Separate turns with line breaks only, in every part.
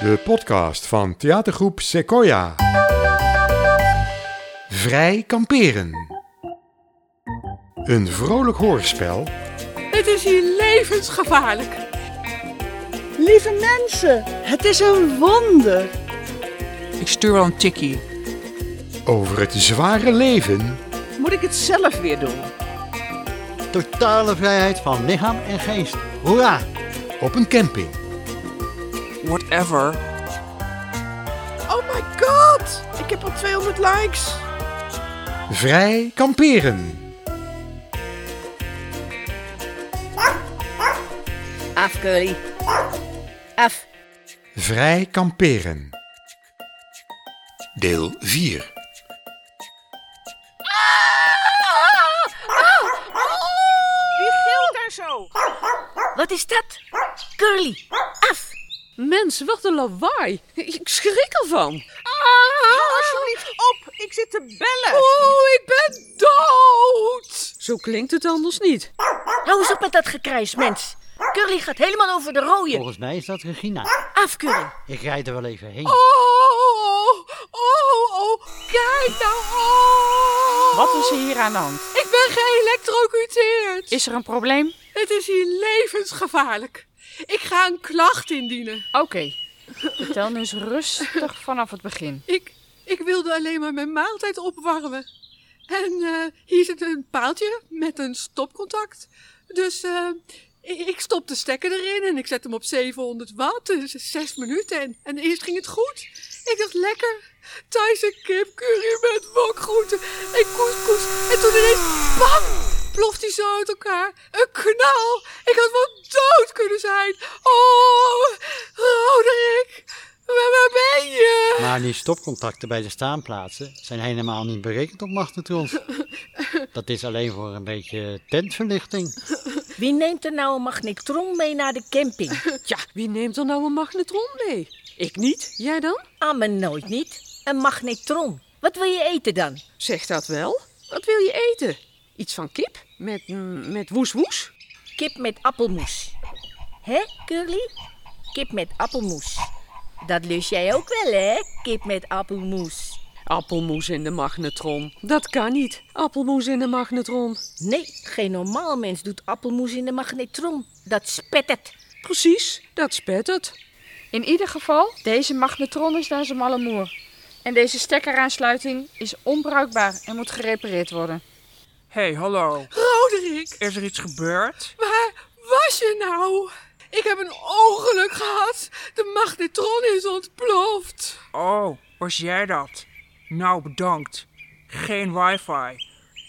De podcast van theatergroep Sequoia. Vrij kamperen. Een vrolijk hoorspel
Het is hier levensgevaarlijk.
Lieve mensen, het is een wonder.
Ik stuur wel een tikkie.
over het zware leven
Moet ik het zelf weer doen?
Totale vrijheid van lichaam en geest. Hoera!
op een camping.
Whatever.
Oh my god, ik heb al 200 likes.
Vrij kamperen.
Af, Curly. Af.
Vrij kamperen. Deel 4.
Wie gilt daar zo?
Wat is dat? Curly. Af.
Mens, wat een lawaai. Ik schrik ervan.
Ah! Alsjeblieft op, ik zit te bellen.
Oh, ik ben dood. Zo klinkt het anders niet.
Hou eens op met dat gekrijs, mens. Curly gaat helemaal over de rode.
Volgens mij is dat Regina.
Af, Curly.
Ik rijd er wel even heen.
Oh, oh, oh. Kijk nou. Oh.
Wat is er hier aan de hand?
Ik ben geëlektrocuteerd.
Is er een probleem?
Het is hier levensgevaarlijk. Ik ga een klacht indienen.
Oké. Vertel nu eens rustig vanaf het begin.
Ik, ik wilde alleen maar mijn maaltijd opwarmen. En eh, hier zit een paaltje met een stopcontact. Dus eh, ik ik stop de stekker erin en ik zet hem op 700 watt. Dus zes minuten en, en eerst ging het goed. Ik dacht lekker. Thuis een kipcurry met wokgroenten en couscous. En toen ineens, bam, ploft hij zo uit elkaar. Een knal. Ik had wel dood kunnen zijn. Oh, Roderick, waar, waar ben je?
Maar die stopcontacten bij de staanplaatsen zijn helemaal niet berekend op magnetrons. Dat is alleen voor een beetje tentverlichting.
Wie neemt er nou een magnetron mee naar de camping?
Ja, wie neemt er nou een magnetron mee? Ik niet. Jij dan?
Ah, maar nooit niet. Een magnetron. Wat wil je eten dan?
Zeg dat wel. Wat wil je eten? Iets van kip? Met, mm, met woes-woes?
Kip met appelmoes. Hè, Curly? Kip met appelmoes. Dat lust jij ook wel, hè? Kip met appelmoes.
Appelmoes in de magnetron. Dat kan niet. Appelmoes in de magnetron.
Nee, geen normaal mens doet appelmoes in de magnetron. Dat spettert.
Precies, dat spettert.
In ieder geval, deze magnetron is naar zijn malle moer. En deze stekkeraansluiting is onbruikbaar en moet gerepareerd worden.
hey, hallo.
Roderick,
Is er iets gebeurd?
waar was je nou? Ik heb een ongeluk gehad. De magnetron is ontploft.
Oh, was jij dat? Nou, bedankt. Geen wifi.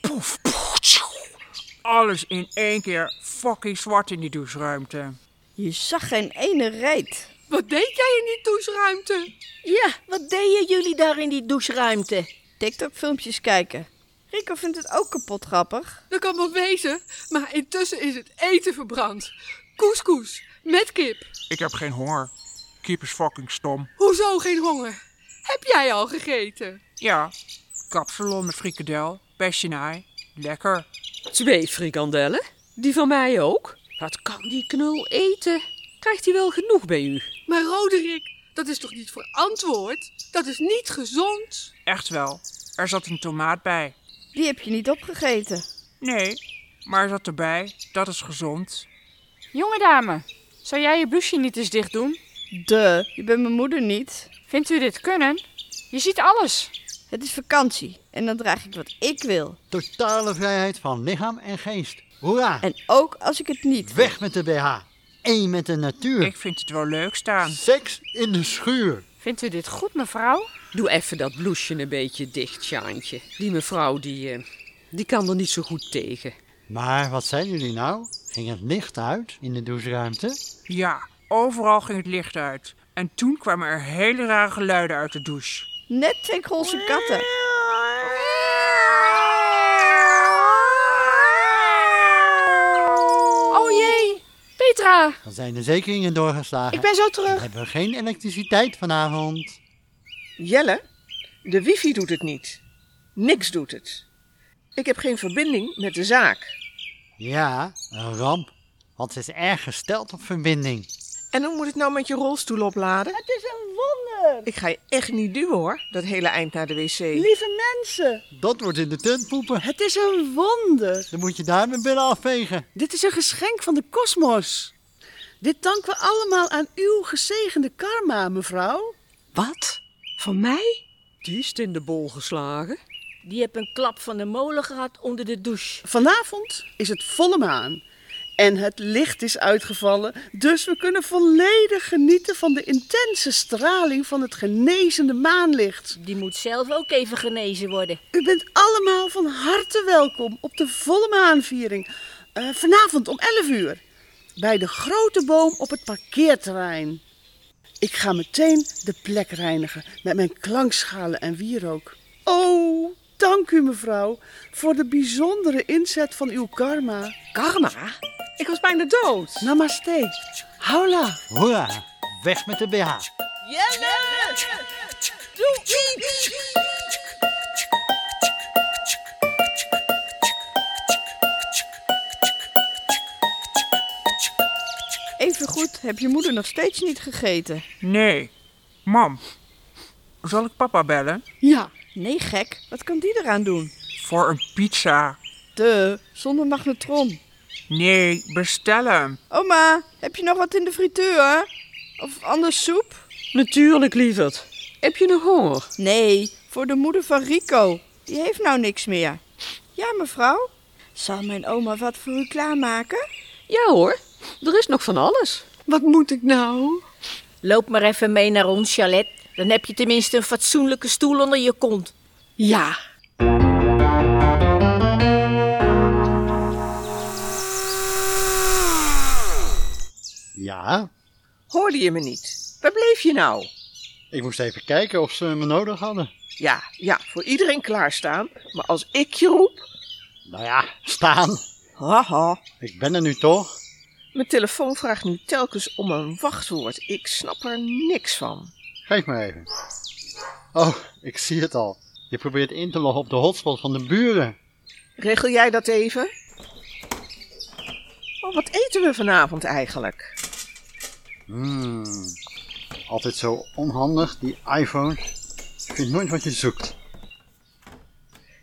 Poef, poef, tjoe. Alles in één keer fucking zwart in die doucheruimte.
Je zag geen ene reet.
Wat deed jij in die doucheruimte?
Ja, wat deden jullie daar in die doucheruimte?
TikTok-filmpjes kijken. Rico vindt het ook kapot grappig.
Dat kan wel wezen, maar intussen is het eten verbrand. Couscous, met kip.
Ik heb geen honger. Keep is fucking stom.
Hoezo geen honger? Heb jij al gegeten?
Ja, kapsalon met frikandel, bessenij. Lekker.
Twee frikandellen. Die van mij ook. Wat kan die knul eten? Krijgt hij wel genoeg bij u? Maar Roderick, dat is toch niet verantwoord? Dat is niet gezond?
Echt wel. Er zat een tomaat bij.
Die heb je niet opgegeten.
Nee, maar er zat erbij. Dat is gezond.
Jonge dame, zou jij je blouseje niet eens dicht doen?
De, je bent mijn moeder niet.
Vindt u dit kunnen? Je ziet alles.
Het is vakantie en dan draag ik wat ik wil.
Totale vrijheid van lichaam en geest. Hoera!
En ook als ik het niet wil.
Weg met de BH. Eén met de natuur.
Ik vind het wel leuk staan.
Seks in de schuur.
Vindt u dit goed, mevrouw?
Doe even dat bloesje een beetje dicht, Sjaantje. Die mevrouw, die, eh, die kan er niet zo goed tegen.
Maar wat zijn jullie nou? Ging het licht uit in de doucheruimte?
Ja, overal ging het licht uit. En toen kwamen er hele rare geluiden uit de douche.
Net twee golse katten.
Oh jee, Petra,
Dan zijn de zekeringen doorgeslagen.
Ik ben zo
Dan
terug.
hebben we geen elektriciteit vanavond.
Jelle, de wifi doet het niet. Niks doet het. Ik heb geen verbinding met de zaak.
Ja, een ramp. Want ze is erg gesteld op verbinding.
En hoe moet ik nou met je rolstoel opladen?
Het is een wonder.
Ik ga je echt niet duwen hoor, dat hele eind naar de wc.
Lieve mensen,
Dat wordt in de tent poepen.
het is een wonder.
Dan moet je daar mijn billen afvegen.
Dit is een geschenk van de kosmos. Dit danken we allemaal aan uw gezegende karma, mevrouw.
Wat? Van mij? Die is in de bol geslagen.
Die heb een klap van de molen gehad onder de douche.
Vanavond is het volle maan. En het licht is uitgevallen, dus we kunnen volledig genieten van de intense straling van het genezende maanlicht.
Die moet zelf ook even genezen worden.
U bent allemaal van harte welkom op de volle maanviering. eh, vanavond om 11 uur. Bij de grote boom op het parkeerterrein. Ik ga meteen de plek reinigen met mijn klankschalen en wierook. Oh, dank u mevrouw voor de bijzondere inzet van uw karma.
Karma? Ik was bijna dood.
Namaste. Hola.
Hoera, weg met de BH.
Even goed, heb je moeder nog steeds niet gegeten?
Nee. Mam, zal ik papa bellen?
Ja. Nee, gek. Wat kan die eraan doen?
Voor een pizza.
De, zonder magnetron.
Nee, bestel hem.
Oma, heb je nog wat in de frituur? Of anders soep?
Natuurlijk, lieverd. Heb je nog honger?
Nee, voor de moeder van Rico. Die heeft nou niks meer. Ja, mevrouw? Zal mijn oma wat voor u klaarmaken?
Ja hoor, er is nog van alles. Wat moet ik nou?
Loop maar even mee naar ons, Chalet. Dan heb je tenminste een fatsoenlijke stoel onder je kont.
Ja,
Ja,
Hoorde je me niet? Waar bleef je nou?
ik moest even kijken of ze me nodig hadden.
Ja, ja, voor iedereen klaarstaan. Maar als ik je roep...
Nou ja, staan.
Haha.
Ik ben er nu toch?
Mijn telefoon vraagt nu telkens om een wachtwoord. Ik snap er niks van.
Geef maar even. Oh, ik zie het al. Je probeert in te loggen op de hotspot van de buren.
Regel jij dat even? Oh, wat eten we vanavond eigenlijk?
Hmm. Altijd zo onhandig, die iPhones. Je vindt nooit wat je zoekt.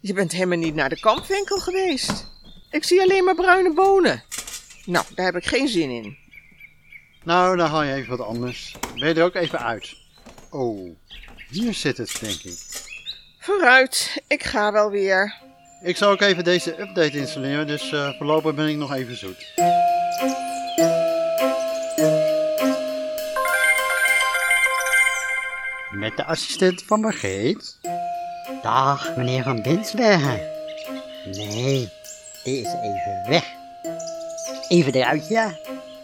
Je bent helemaal niet naar de kampwinkel geweest. Ik zie alleen maar bruine bonen. Nou, daar heb ik geen zin in.
Nou, dan haal je even wat anders. Ben je er ook even uit? Oh, hier zit het, denk ik.
Vooruit, ik ga wel weer.
Ik zal ook even deze update installeren, dus eh, voorlopig ben ik nog even zoet. Met de assistent van Margreet.
Dag, meneer Van Binsbergen. Nee, die is even weg. Even eruit, ja.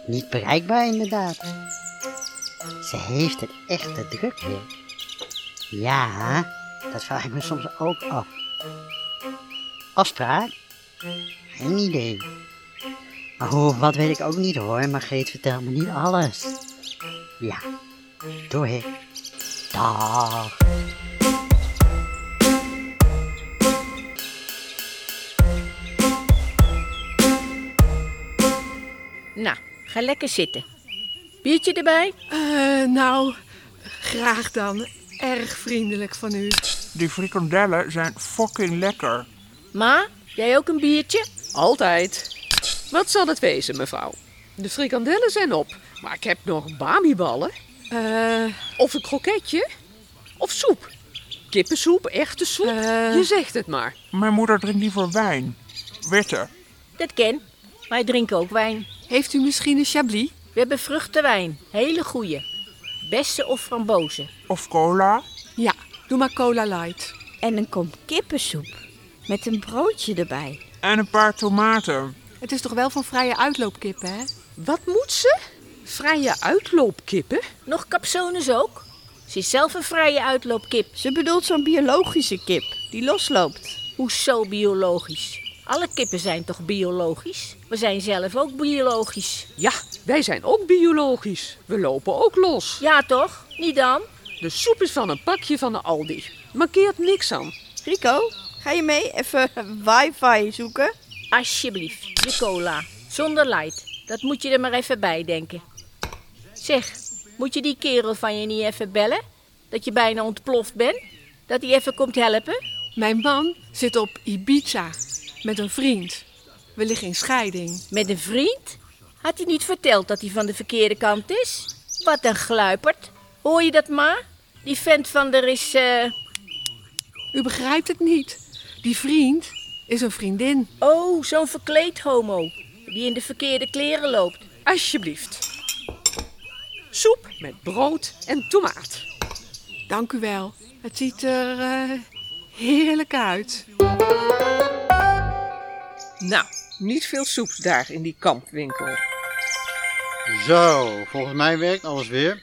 Niet bereikbaar, inderdaad. Ze heeft het echt te druk weer. Ja, dat vraag ik me soms ook af. Afspraak? Geen idee. Maar hoe, wat weet ik ook niet hoor, Margreet vertelt me niet alles. Ja, doei. Dag.
Nou, ga lekker zitten. Biertje erbij?
Eh, nou, graag dan. Erg vriendelijk van u.
Die frikandellen zijn fucking lekker.
Ma, jij ook een biertje?
Altijd. Wat zal het wezen, mevrouw? De frikandellen zijn op, maar ik heb nog bamiballen.
Eh.
Of een kroketje. Of soep. Kippensoep, echte soep.
Eh.
Je zegt het maar.
Mijn moeder drinkt liever wijn. Witte.
Dat ken. Wij drinken ook wijn.
Heeft u misschien een chablis?
We hebben vruchtenwijn. Hele goeie. Bessen of frambozen.
Of cola.
Ja, doe maar cola light.
En een kom kippensoep. Met een broodje erbij.
En een paar tomaten.
Het is toch wel van vrije uitloopkippen, hè? Wat moet ze? Vrije uitloopkippen?
Nog capsones ook? Ze is zelf een vrije uitloopkip.
Ze bedoelt zo'n biologische kip die losloopt.
Hoezo biologisch? Alle kippen zijn toch biologisch? We zijn zelf ook biologisch.
Ja, wij zijn ook biologisch. We lopen ook los.
Ja toch? Niet dan?
De soep is van een pakje van de Aldi. Markeert niks aan.
Rico, ga je mee even wifi zoeken?
Alsjeblieft, de cola. Zonder light. Dat moet je er maar even bij denken.
Zeg, moet je die kerel van je niet even bellen? Dat je bijna ontploft bent? Dat hij even komt helpen?
Mijn man zit op Ibiza met een vriend. We liggen in scheiding.
Met een vriend? Had hij niet verteld dat hij van de verkeerde kant is? Wat een gluiperd. Hoor je dat maar? Die vent van er is... eh,
U begrijpt het niet. Die vriend is een vriendin.
Oh, zo'n verkleed homo. Die in de verkeerde kleren loopt.
Alsjeblieft. Soep met brood en tomaat.
Dank u wel. Het ziet er eh, heerlijk uit.
Nou, niet veel soeps daar in die kampwinkel.
Zo, volgens mij werkt alles weer.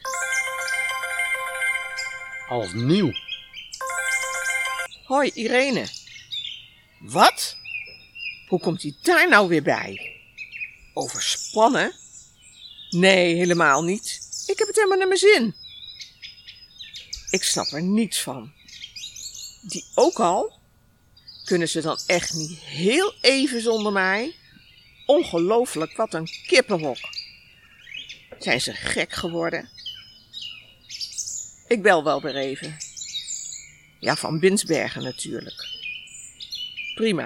Als nieuw.
Hoi, Irene. Wat? Hoe komt hij daar nou weer bij? Overspannen? Nee, helemaal niet. Ik heb het helemaal naar mijn zin. Ik snap er niets van. Die ook al? Kunnen ze dan echt niet heel even zonder mij? Ongelooflijk, wat een kippenhok. Zijn ze gek geworden? Ik bel wel weer even. Ja, van Binsbergen natuurlijk. Prima.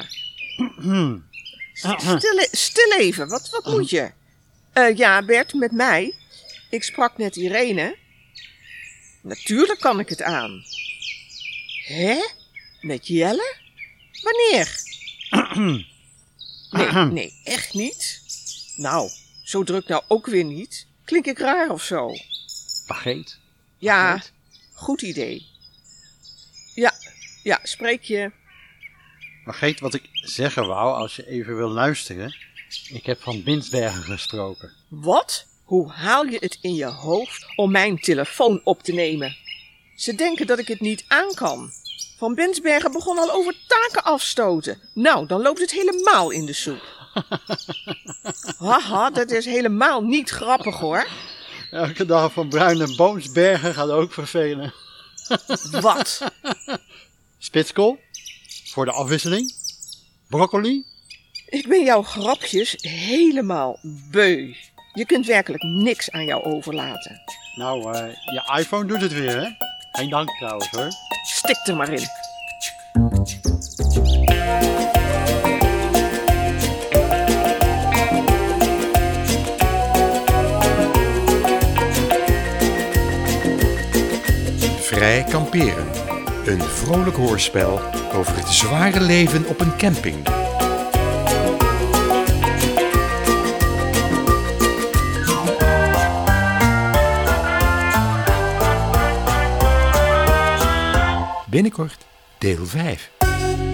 Ah.
Stil, e- stil even, wat, wat moet je? Eh, ja, Bert, met mij. Ik sprak net Irene. Natuurlijk kan ik het aan. Hè? Met Jelle? Wanneer? nee, nee, echt niet. Nou, zo druk nou ook weer niet. Klink ik raar of zo?
Pageet.
Ja, goed idee. Ja, ja, spreek je.
Vergeet wat ik zeggen wou als je even wil luisteren. Ik heb van Binsbergen gesproken.
Wat? Hoe haal je het in je hoofd om mijn telefoon op te nemen? Ze denken dat ik het niet aan kan. Van Bensbergen begon al over taken afstoten. Nou, dan loopt het helemaal in de soep. Haha, dat is helemaal niet grappig hoor.
Elke dag van Bruin en Boomsbergen gaat ook vervelen.
Wat?
Spitskool? Voor de afwisseling? Broccoli?
Ik ben jouw grapjes helemaal beu. Je kunt werkelijk niks aan jou overlaten.
Nou, eh, je iPhone doet het weer, hè? Geen dank trouwens, hoor.
Stik er maar in.
Vrij kamperen. Een vrolijk hoorspel over het zware leven op een camping. Binnenkort deel 5.